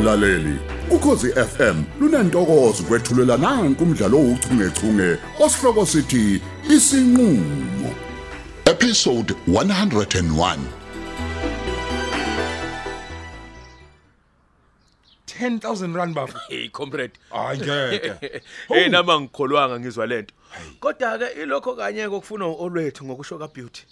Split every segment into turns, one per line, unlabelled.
mlaleli ukhosi FM lunantokozo kwethulela nange umdlalo ouchungechunge osihloko sithi isinqulo episode 101
10000 rand bafo
hey comrade
hayi ngeke
hey nama ngikholwanga ngizwa lento kodwa ke ilokho kanye kokufunwa uolwethu ngokusho ka beauty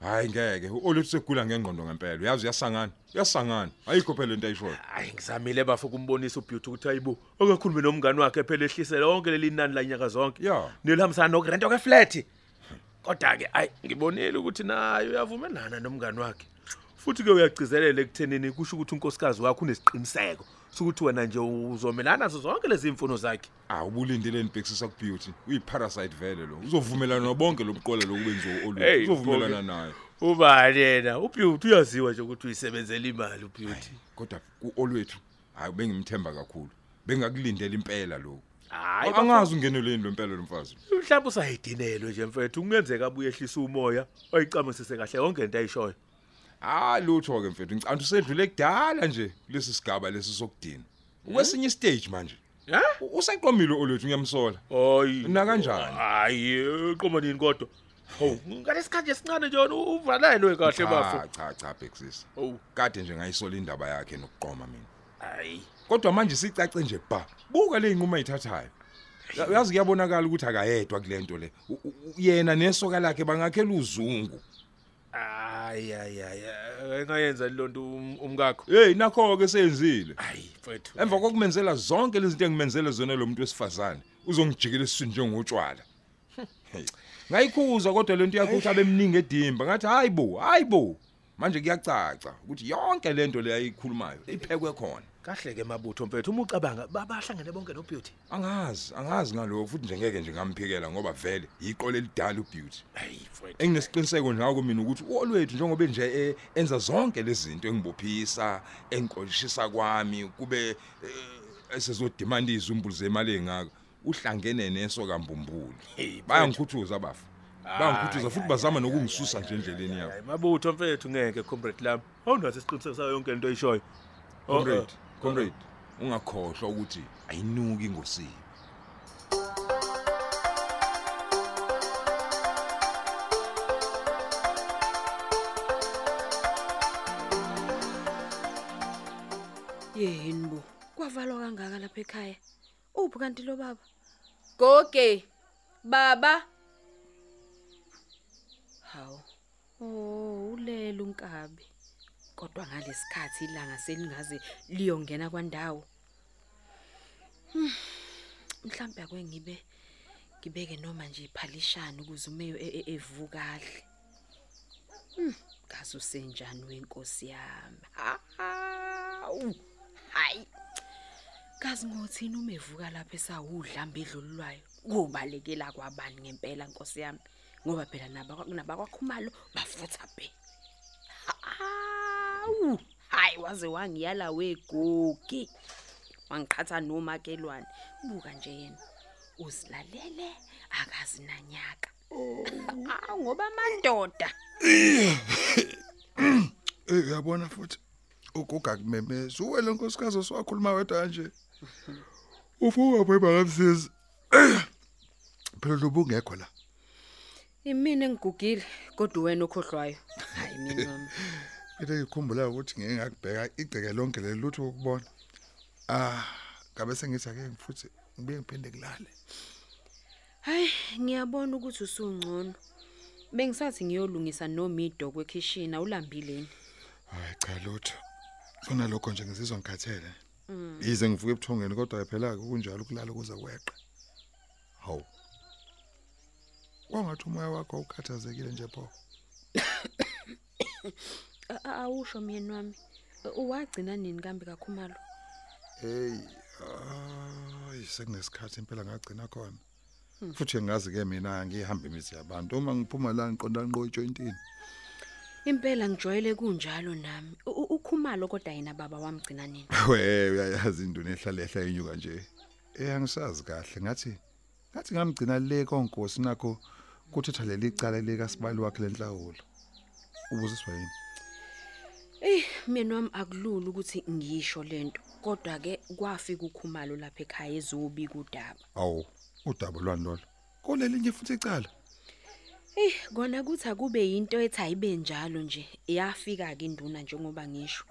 hayi ngeke uolwethu segula ngengqondo ngempela uyazi uyasangana uyasangana ayikho phela into ayishoyo
hayi ngizamile bafu kumbonisa ubeauty ukuthi ayibo akakhulume nomngani wakhe phela ehlisele lonke leli nani la nyaka zonke
Ya.
nilihambisana nokurento ke flat kodwa ke ayi ngibonile ukuthi naye uyavumelana nomngani wakhe futhi ke uyagcizelela ekuthenini kusho ukuthi unkosikazi wakhe unesiqiniseko sokuthi wena nje uzomelana nazo zonke lezi imfuno zakhe
Ah, awubulindele nibhekisisa ku beauty uyiparasite vele lo uzovumelana nobonke lobuqola lokubenziwa uolwethu
Hey,
uzovumelana
Mpho-ke.
naye
ubani yena ubeauty uyaziwa nje ukuthi uyisebenzela imali ubeauty
kodwa uolwethu hayi bengimthemba kakhulu bengakulindela impela lokho
hayi
angazi ungeneleni lo mpela lo mfazi
mhlawumbe usayidinelwe nje mfethu kungenzeka abuye ehlisa umoya oyicamisise kahle yonke into ayishoyo
hayi lutho ke mfethu ngicanda usedlule kudala nje kulesi sigaba lesi sokudina
Hmm?
ukwesinye istage manje
ha
U- useqomile uolwethu ngiyamsola
hayi
Na kanjani?
hayi uqomanini kodwa ho ngalesikhathi esincane nje wona uvalelwe kahle bafo
cha cha bhekisisa
ho
kade nje ngayisola indaba yakhe nokuqoma mina
hayi
kodwa manje sicace nje ba buka le inqumo ayithathayo Ya- uyazi kuyabonakala ukuthi akayedwa kule nto le U- u- yena nesoka lakhe bangakhela uzungu
hayi hayi hayi engayenza lonto umkakho
hey nakho ke seyenzile
hayi mfethu
emva kokumenzela zonke lezi zinto engimenzele zona lo muntu wesifazane uzongijikela esiswini njengotshwala Hey. ngayikhuza kodwa lento yakuthi abemningi edimba ngathi hayi bo hayi bo manje kuyacaca ukuthi yonke lento le ayikhulumayo iphekwe khona
kahle ke mabutho mfethu uma ucabanga babahlangene bonke no beauty
angazi angazi ngalokho futhi nje ngeke nje ngamphikela ngoba vele iqole elidala ubeauty
hayi mfethu
enginesiqiniseko njalo mina ukuthi uolwethu njengoba nje eh, enza zonke lezi zinto engibophisa engqolishisa kwami kube eh, esezodemand izimbulo zemali engaka uhlangene neso kambumbulu
Hey,
bayangikhuthuza bafu bayangikhuthuza futhi bazama nokungisusa nje endleleni yabo
hayi mabutho mfethu ngeke comrade lami awunaso isiqiniseko sayo yonke into ayishoyo Oh,
comrade
oh.
comrade ungakhohlwa ukuthi ayinuki ingosini
yini bo kwavalwa kangaka lapha ekhaya uphi kanti lo baba goge baba hawu oh ulela unkabi kodwa ngalesikhathi ilanga selingaze liyongena kwandawo Hmm, mhlambe akwe ngibe ngibeke noma nje iphalishana ukuze umeyo e- e- evuka kahle kaso senjani wenkosi yami hawu hayi kazi ngothini uma evuka lapha esawudlamba edlululwayo kubalekela kwabani ngempela nkosi yami ngoba phela naba- nabakwakhumalo bafutha be hawu hayi waze wangiyala wegugi wangiqhatha nomakhelwane buka nje yena uzilalele akazi nanyaka Hawu, ngoba mandoda
Eh uyabona futhi uguga kumemeza uwele nkosikazi osakhuluma wedwa kanje. Ufuka phepha kamsizi. Phela ubungekho la.
Imini engigugile kodwa wena okhohlwayo. Hayi mina mama.
Into ngikhumbula ukuthi ngeke ngakubheka igceke lonke leli lutho ukubona. Ah ngabe sengithi ake ngifuthi ngibuye ngiphinde kulale.
Hayi ngiyabona ukuthi usungcono. Bengisathi ngiyolungisa nomido kwekitchen awulambile yini?
Hayi cha lutho. Kona lokho nje ngizizwa ngikhathele. Yize ngivuka ebuthongeni kodwa phela ke kunjalo ukulala kuze kweqe. Hawu. Wangathi umoya wakho ukhathazekile nje pho.
A- a- Awusho myeni wami. Uwagcina nini kambe kakhumalo?
Hey, hayi sekunesikhathi impela ngagcina khona. Futhi ngiyazi ke mina ngihamba imithi yabantu uma ngiphuma la ngiqonda nqo ejointini.
Impela ngijwayele kunjalo nami. U- u- Ukhumalo kodwa yena baba wamgcina nini?
We uyayazi into nehlalehla enyuka nje. Eh angisazi kahle ngathi ngathi ngamgcina le konkosi nakho kuthetha leli cala lika sibali wakhe lenhlawulo. Ubuze sibayini?
Ey, mina wami akulula ukuthi ngisho lento. Kodwa ke kwafika ukhumalo lapha ekhaya ezobi kudaba.
Awu, udaba lwani lolo? Kulelinye futhi icala.
Ey, Eh, kona kuthi akube into ethi ayibe njalo nje. Yafika ke induna njengoba ngisho.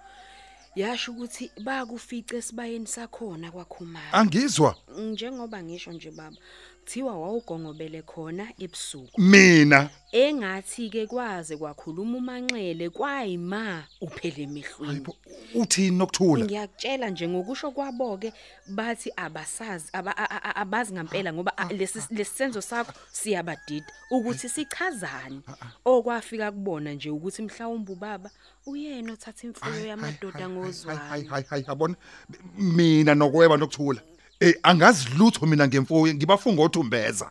Yasho ukuthi bakufice esibayeni sakhona kwakhumalo.
Angizwa
Njengoba ngisho nje baba, kuthiwa wawugongobele khona ebusuku.
mina.
Engathi ke kwaze kwakhuluma umanxele kwayima uphele emehlweni.
Hayibo, uthini nokthula?
ngiyakutshela nje ngokusho kwabo ke bathi abasazi aba- a- a- abazi ngempela ngoba a- lesi lesisenzo sakho siyabadida ukuthi sichazani okwafika kubona nje ukuthi mhlawumbe ubaba uyena othatha imfuyo yamadoda
Hayi
ngozwayo
hayi hayi yabona M- mina nokweba nokthula. Eh angazilutho mina ngemfuyo ngibafunga othumbeza.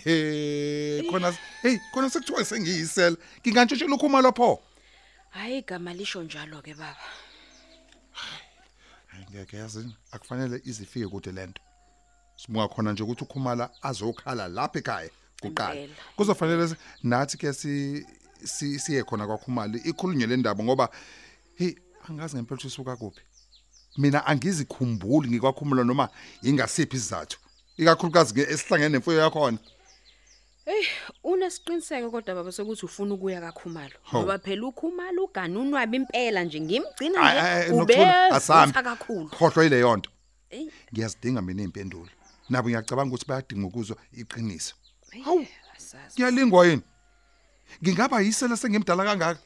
Eh khona hey khona sekuthiwa sengiyisela. Ngingantshitshela ukhuma lapho.
hhayi igama lisho njalo ke baba
Hayi ngeke yazi akufanele izifike kude lento. Sibuka khona nje ukuthi ukhumala azokhala lapha ekhaya kuqala.
Impela.
Kuzofanele si- nathi ke si si- siye khona kwakhumali ikhulunywe le ndaba ngoba hey angazi ngempela ukuthi usuka kuphi. Mina angizikhumbuli ngikwakhumula noma ingasiphi isizathu. Ikakhulukazi ke esihlangene nemfuyo yakho.
Mhm. eyi unesiqiniseko kodwa baba sokuthi ufuna ukuya kakhumalo
Hawu.
ngoba phela ukhumalo ugane unwabi impela nje ngimgcina nje ubevutha
asambi.
kakhulu
Khohlwa ile yonto.
Eyi.
Ngiyazidinga mina impendulo. Nabo ngiyacabanga ukuthi bayadinga ukuzwa iqiniso.
hawu asazi
Kuyalingwa yini? Ngingaba yisela sengimdala kangaka.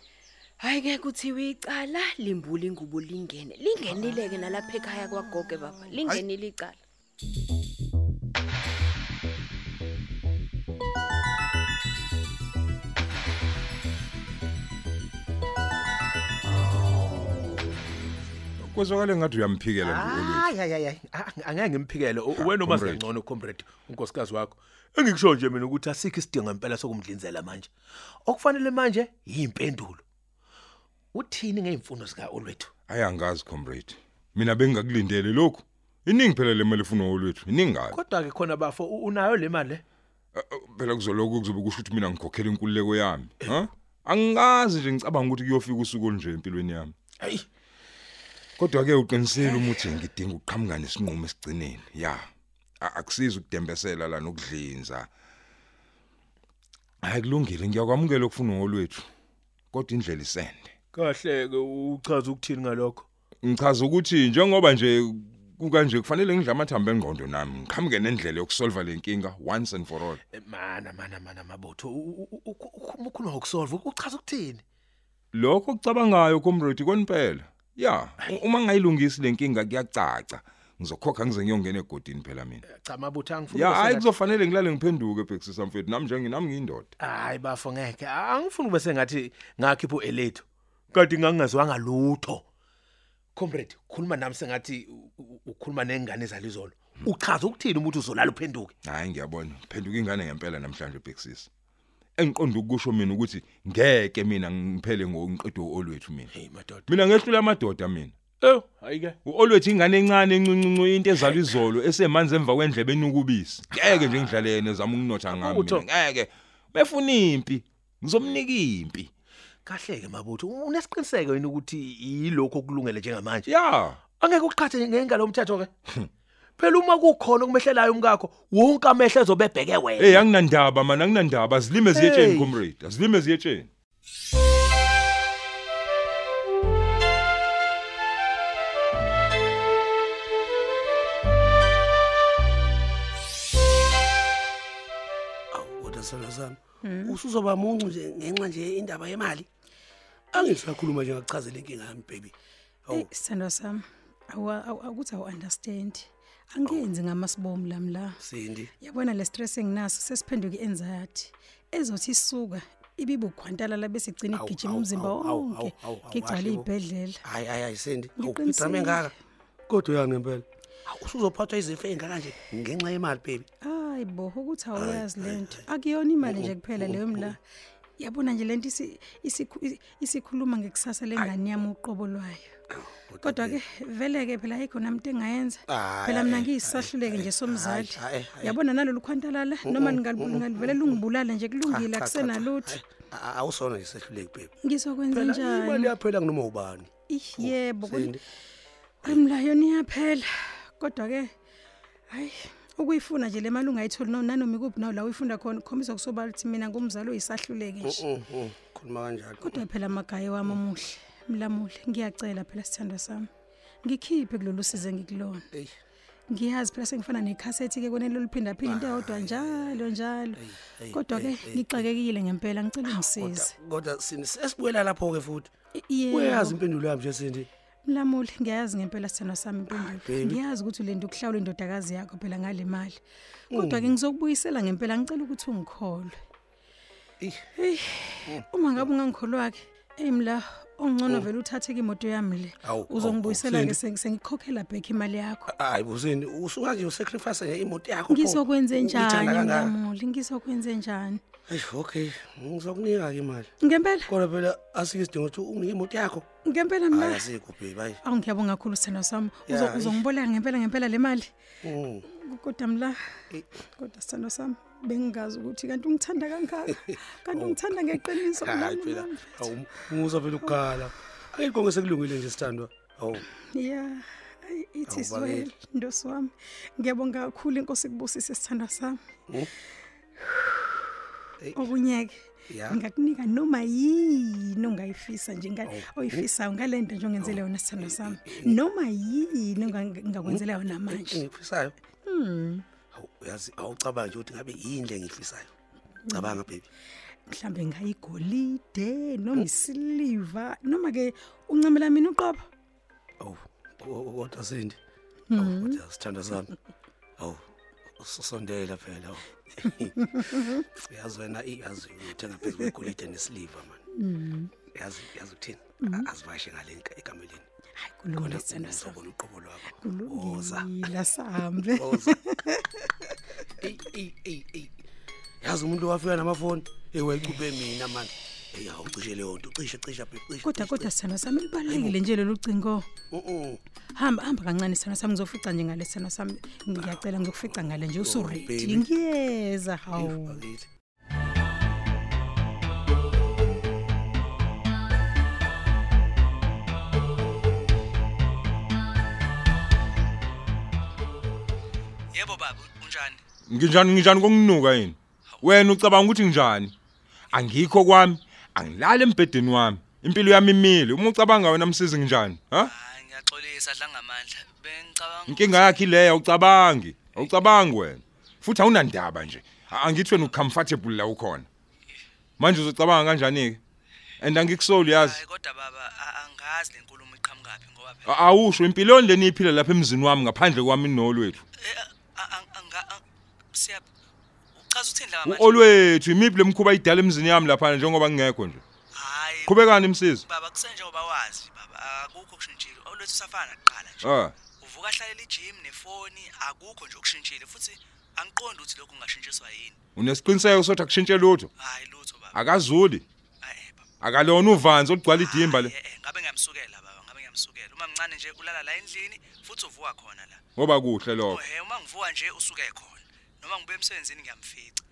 Hayi ke kuthiwa icala limbula ingubo lingene. Lingenile ke nalapha ekhaya kwagogo baba. Lingenile icala.
Kwezwakale ngathi uyamphikela nje uLuthi.
hayi hayi hayi Ah, angeke ngimphikele U- wena uma
comrade.
singcono comrade unkosikazi wakho engikusho nje mina ukuthi asikho isidingo impela sokumdlinzela manje okufanele manje yimpendulo uthini ngeemfundo zika olwethu
Hayi angazi comrade. Mina bengakulindele lokhu. Iningi phela le mali ufuna olwethu. Iningi ngayo.
kodwa ke khona bafo u- unayo le mali le
Uh, phela kuzoloku kuzobe kusho ukuthi mina ngikhokhela inkululeko yami
Eh.
ha angazi nje ngicabanga ukuthi kuyofika usuku olunje empilweni yami
hayi
kodwa ke uqinisele umuthi ngidinga ukuqhamuka nesinqumo esigcineni ya A- akusizi ukudembesela la nokudlinza hayi kulungile ngiyakwamukela ukufuna ngolwethu kodwa indlela isende
kahle ke uchaza ukuthini ngalokho
ngichaza ukuthi njengoba nje kukanje kufanele ngidla amathambo engqondo nami ngiqhamuke nendlela yokusolva lenkinga once and for all
Eh, mana mana mana mabutho U- u- u- u- ukhuluma ukusolve uchaza ukuthini
lokho ocabangayo comrade konpela ya u- uma ngayilungisi lenkinga kuyacaca ngizokhokha ngize ngiyongena egodini phela mina
cha mabutho angifuni
ya hayi
ukwesela-
kuzofanele ngilale ngiphenduke bhekisisa mfethu nami njengi nami ngiyindoda
hayi bafo ngeke angifuni ube sengathi ngakhipha uelethu kanti ngangingazwanga lutho comrade khuluma nami sengathi u- u- ukhuluma nengane ezalizolo uchaza ukuthini umuntu uzolala uphenduke
hayi ngiyabona phenduka ingane ngempela namhlanje bhekisisa engiqonda ukusho mina ukuthi ngeke mina ngiphele ngoqedo olwethu mina
hey madoda
mina ngehlula amadoda mina
eh hayi ke
uolwethu ingane encane encuncu into ezalwa izolo esemanzi emva kwendlebe enukubisi ngeke nje ngidlale yena ezama ukunotha ngami
Utho.
mina ngeke befuna impi ngizomnika impi
kahle ke mabutho unesiqiniseko yini ukuthi yilokho okulungele njengamanje
ya
angeke uqhathe ngengalo umthetho ke phela uma kukhona okumehlelayo umkakho wonke amehlo ezobebheke wena
hey anginandaba mana anginandaba azilime ziyetsheni
Hey.
comrade azilime ziyetsheni
awukoda sala sami usuzoba muncu nje ngenxa nje indaba yemali angisakhuluma nje ngakuchazela inkinga yami baby
Ey sithando sami awa- awa- akuthi awu understand angenzi ngamasibomu lami la
sindi
yabona le stress enginaso sesiphenduka ianxiety ezothi isuka ibibe ukhwantalala bese igcina
Awu,
igijima
awu,
umzimba
awu, awu, awu,
wonke
awu,
ngigcwala
kahle bo.
izibhedlela
hayi hayi hayi sindi
Ngiqinisile.
awudrame ngaka kodwa uyani ngempela Hawu, usuzophathwa izifo ey'ngaka nje ngenxa yemali baby
hayi bo ukuthi awuyazi lento akuyona imali nje kuphela leyo mla yabona nje lento isi- isiku- isi- isikhuluma ngekusasa lengane yami uqobo lwayo kodwa ke vele ke phela ayikho namuntu engayenza
Ayi,
phela mina
ayi,
ngiyisahluleke nje
ayi,
somzali
ayi, ayi.
yabona nalolu khwantalala noma ningalivele lungibulale nje
Cha,
kulungile
cha, cha.
akusenalutho
Hhayi,
a- awusona nje sehluleki bhebe
ngizokwenza
phela imali
njani
yaphela kunoma ubani
Ih, yebo
Sindi.
umlayoni iyaphela kodwa ke hayi ukuyifuna nje le mali ungayitholi no- nanomi kuphi nawo la uyifunda khona khombisa kusoba lithi mina ngumzali oyisahluleke nje
Mm, mm, khuluma kanjalo
kodwa phela amagaye wami omuhle mlamule ngiyacela phela sithandwa sami ngikhiphe kulolu size ngikulona
eyi
ngiyazi phela sengifana nekhasethi ke konelo liphinda phinda into eyodwa njalo njalo kodwa ke ngixakekile ngempela ngicela ungisize
kodwa sindi sesibuyela lapho-ke futhi
Yebo.
uyayazi impendulo yami nje sindi
Mlamuli ngiyazi ngempela sithando sami impendulo.
baby.
Ngiyazi ukuthi ulenda ukuhlawula indodakazi yakho phela ngale mali.
Mm.
Kodwa ke ngizokubuyisela ngempela ngicela ukuthi ungikholwe.
Eyi.
Eh.
Mm.
Uma ngabe ungangikholwa ke, emla ongcono vele uthathe ke imoto yami le.
Oh. Awu, Ah, awu,
Uzongibuyisela ke
Sindi.
seng- sengikhokhela back imali yakho.
hayi busindi usuka nje usacrifice nje imoto yakho pho.
Ngizokwenze
Uyithanda
njani
oh. kangaka.
Mlamuli? Ngizokwenze njani?
Eish, okay ngizokunika-ke imali
Ngempela,
kodwa phela asike isidingo ukuthi unginike imoto yakho
ngempela
hayi
mla.
asikho bhebi hayi
Awu ngiyabonga kakhulu sithando sami. Uzo-
Yeah, eish.
Uzongiboleka ngempela ngempela le mali.
Mm.
kodwa mla
Eh.
kodwa sithando sami bengingazi ukuthi kanti ungithanda kangaka kanti ungithanda ngeqiniso
Oh. hayi
mngani
phela
wami.
awu musa phela ukukhala ayi konke sekulungile nje sithandwa awu
ya ayi, it is
Awubaleki.
well ndosi wami ngiyabonga kakhulu inkosi kubusise sithando sami
Mm.
okunye-ke
Ya.
ngingakunika noma yini ongayifisa nje nga-
Oh.
oyifisayo ngale nto nje ongenzele yona sithando
Eh,
sami noma yini onga- ngingakwenzela yona
Mm,
manje
engifisayo awu uyazi awucabanga nje ukuthi ngabe yini le engiyifisayo cabanga bhebi
mhlambe ngayigolide noma
Oh.
isiliva noma ke uncamela mina uqobo
awu ko- kodwa sindi Awu,
Mm-hmm.
kodwa sithanda sami awu usondela phela awu.
Mm-hmm.
uyazi wena i- yazi uthenga phezu kwegolide nesiliva mani
Mm-hmm.
yazi yazi ukuthini A- azivashe ngale nka- ekameleni
hayi Mm-hmm. kulungile sithando sami
uzobona uqobo lwakho woza
kulungile sambe
eyi eyi eyi eyi yazi umuntu wafika namafoni ewayicube mina mani eyi awucishe leyo nto cishe cisha phela, cishe,
kodwa
cishe,
kodwa sithando sami libalulekile nje lolu cingo
cishe. Mm, mm.
hamba hamba kancane sithando sami ngizofica nje ngale sithando sami ngiyacela ngizokufica ngale nje usuredi
baby.
ngiyeza hawu
Bakithi.
yebo baba unjani
nginjani nginjani konginuka yini wena ucabanga ukuthi nginjani angikho kwami angilali embhedeni wami impilo yami imile uma ucabanga wena msizi nginjani ha
hayi ngiyaxolisa adla ngamandla bengicabanga
inkinga yakhe leyo awucabangi awucabangi wena futhi awunandaba nje A- angithi wena ucomfortable la ukhona manje uzocabanga kanjani ke and angikusoli yazi
hayi kodwa baba a- angazi le nkulumo iqhamukaphi ngoba phela
A- awusho impilo yonke leniyiphila lapha emzini wami ngaphandle kwami nolwethu
Eh, a- a- anga- a- siyaphi uchaza uthini la manje
olwethu imiphi lemkhuba idala emzini yami lapha njengoba ngingekho nje
hayi
qhubekani msizi
baba kusenjengoba wazi baba akukho kushintshile olwethu usafana nakuqala nje
ah
uvuka ahlalela ijim nefoni akukho nje okushintshile futhi angiqondi ukuthi lokhu kungashintshiswa yini
unesiqiniseko sokuthi akushintshe lutho
hayi lutho
Ah.
baba
akazuli
Eh, eh, baba.
akalona uvanzi olugcwala idimba le
Hayi, eh, eh, ngabe ngiyamsukela baba ngabe ngiyamsukela uma mncane nje ulala la endlini futhi uvuka khona la
ngoba kuhle lokho
Ohe Oh, uma ngivuka nje usuke khona noma ngibuye emsebenzini ngiyamfica.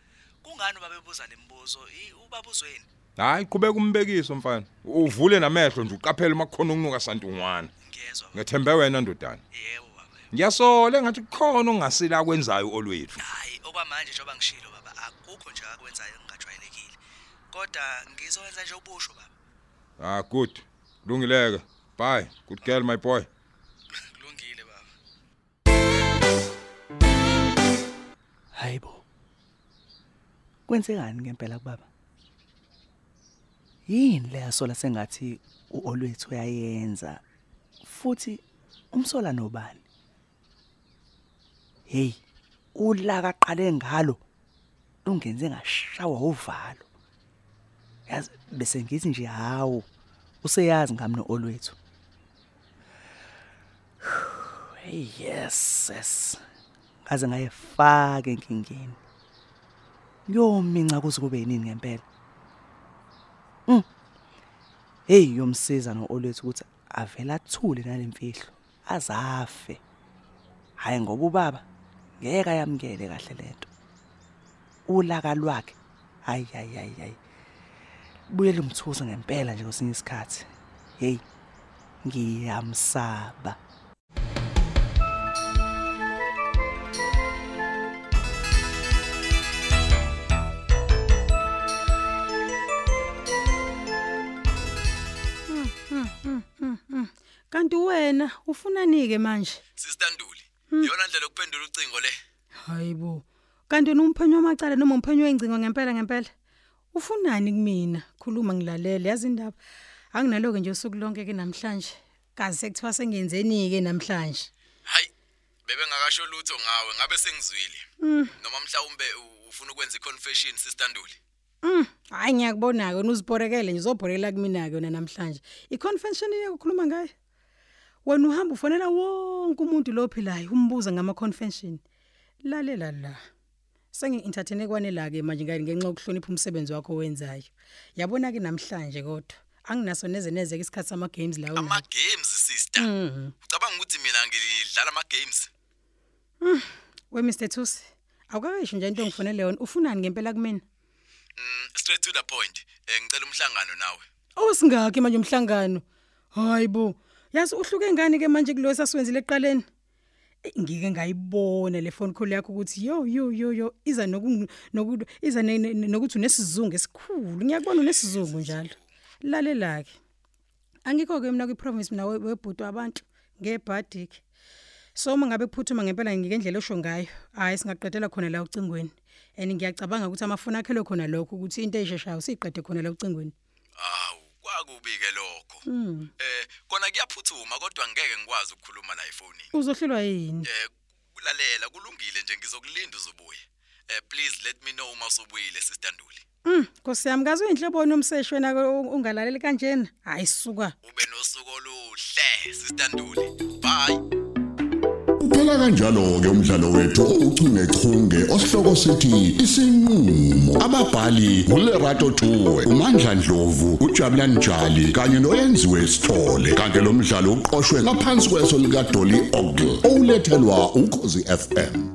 Kungani babebuza lembuzo? I- Ubabuzweni.
hayi qhubeka umbekiso mfana uvule namehlo nje uqaphele makukhona ukunuka santungwana
Ngiyezwa. baba.
ngethembe wena ndodana
Yebo baba.
ngiyasola engathi kukhona ongasile akwenzayo olwethu
Hayi okwamanje njengoba ngishilo baba akukho nje akwenzayo ngingajwayelekile. Kodwa ngizowenza nje ubusho baba.
ah good kulungileke bye good girl my boy
Kulungile baba.
Hayibo. Kwenzekani ngempela kubaba? Yini le asola sengathi uolwethu uyayenza? Futhi umsola nobani? Hey, ulaka qale ngalo. Ungenze ngashawa uvalo. Yazi bese ngithi nje hawo. Useyazi ngami noolwethu. Hey yes, yes. ngaze ngayefaka enkingeni yominca kuze kube yinini ngempela Mm. hey yomsiza no-olwethu ukuthi avele athule nalemfihlo azafe hhayi ngoba ubaba ngeke ayamukele kahle lento ulaka lwakhe hayi hayi hayi hayi
buye lumthuse ngempela nje kwesinye isikhathi hey ngiyamsaba
kanti wena ufunani-ke manje Hmm.
Sisitanduli. Iyona ndlela yokuphendula ucingo le.
hayi bo kanti wena umphenyo wamacala noma umphenyo wey'ngcingo ngempela ngempela ufunani kumina khuluma ngilalele yazi indaba anginaloke nje usuku lonke-ke namhlanje kazi sekuthiwa sengenzeni-ke namhlanje
Hayi. Bebengakasho lutho ngawe ngabe sengizwile.
Mm.
Noma mhlawumbe u- ufuna ukwenza iconfession sisitanduli.
Mm, hayi ngiyakubona-ke wena uzibhorekele nje uzobhorekela kumina-ke yona namhlanje i-convention iyakukhuluma ngayo wena uhamba ufonela wonke umuntu lophilayo umbuza ngama-convention lalela la sengi-entertaine kwanela-ke manje ngani ngenxa yokuhlonipha umsebenzi wakho owenzayo yabona-ke namhlanje kodwa anginaso neze neze-ke isikhathi sama-games lawo nawo.
Ama games sister.
Mhm.
Ucabanga ukuthi mina ngidlala ama games?
we mr tusi awukakayisho nje into ongifonele yona ufunani ngempela kumina
Mm, straight to the point. Eh ngicela umhlangano nawe.
owesingaki manje umhlangano hayi bo yazi uhluke ngani ke manje kulo sasiwenzile eqaleni Eh, ngike ngayibona le phone call yakho ukuthi yo yo yo yo iza noku- noku- iza ne- ne- nokuthi unesizungu esikhulu ngiyakubona unesizungu njalo lalelake angikho-ke mina kwi-province mina we- webhutu abantu ngebhadike so uma ngabe kuphuthuma ngempela ngendlela osho ngayo hhayi singaqedela khona la ocingweni and ngiyacabanga ukuthi amafoni akhelwe khona lokho ukuthi into eyisheshayo siyiqede khona la ocingweni
Awu, kwakubike lokho.
Mm.
Eh kona kuyaphuthuma kodwa ngeke ngikwazi ukukhuluma la efonini.
uzohlelwa yini
Eh kulalela kulungile nje ngizokulinda uzobuya. Eh please let me know uma usubuyile sisitanduli.
um nkosi yami kazi uyinhloboni umseshwena ungalaleli kanjena hhayi suka
Ube nosuku oluhle sisitanduli. Bye.
Uphela kanjalo ke umdlalo wethu ouchungechunge osihloko sithi isinqulo ababhali ulerato tuwe uMandla Dlovu uJabulani Njali kanye noyenziwe Sithole kanti lo mdlalo uqoqwwe ngaphansi kweso lika Dolly Ogle owulethelwa ukhozi FM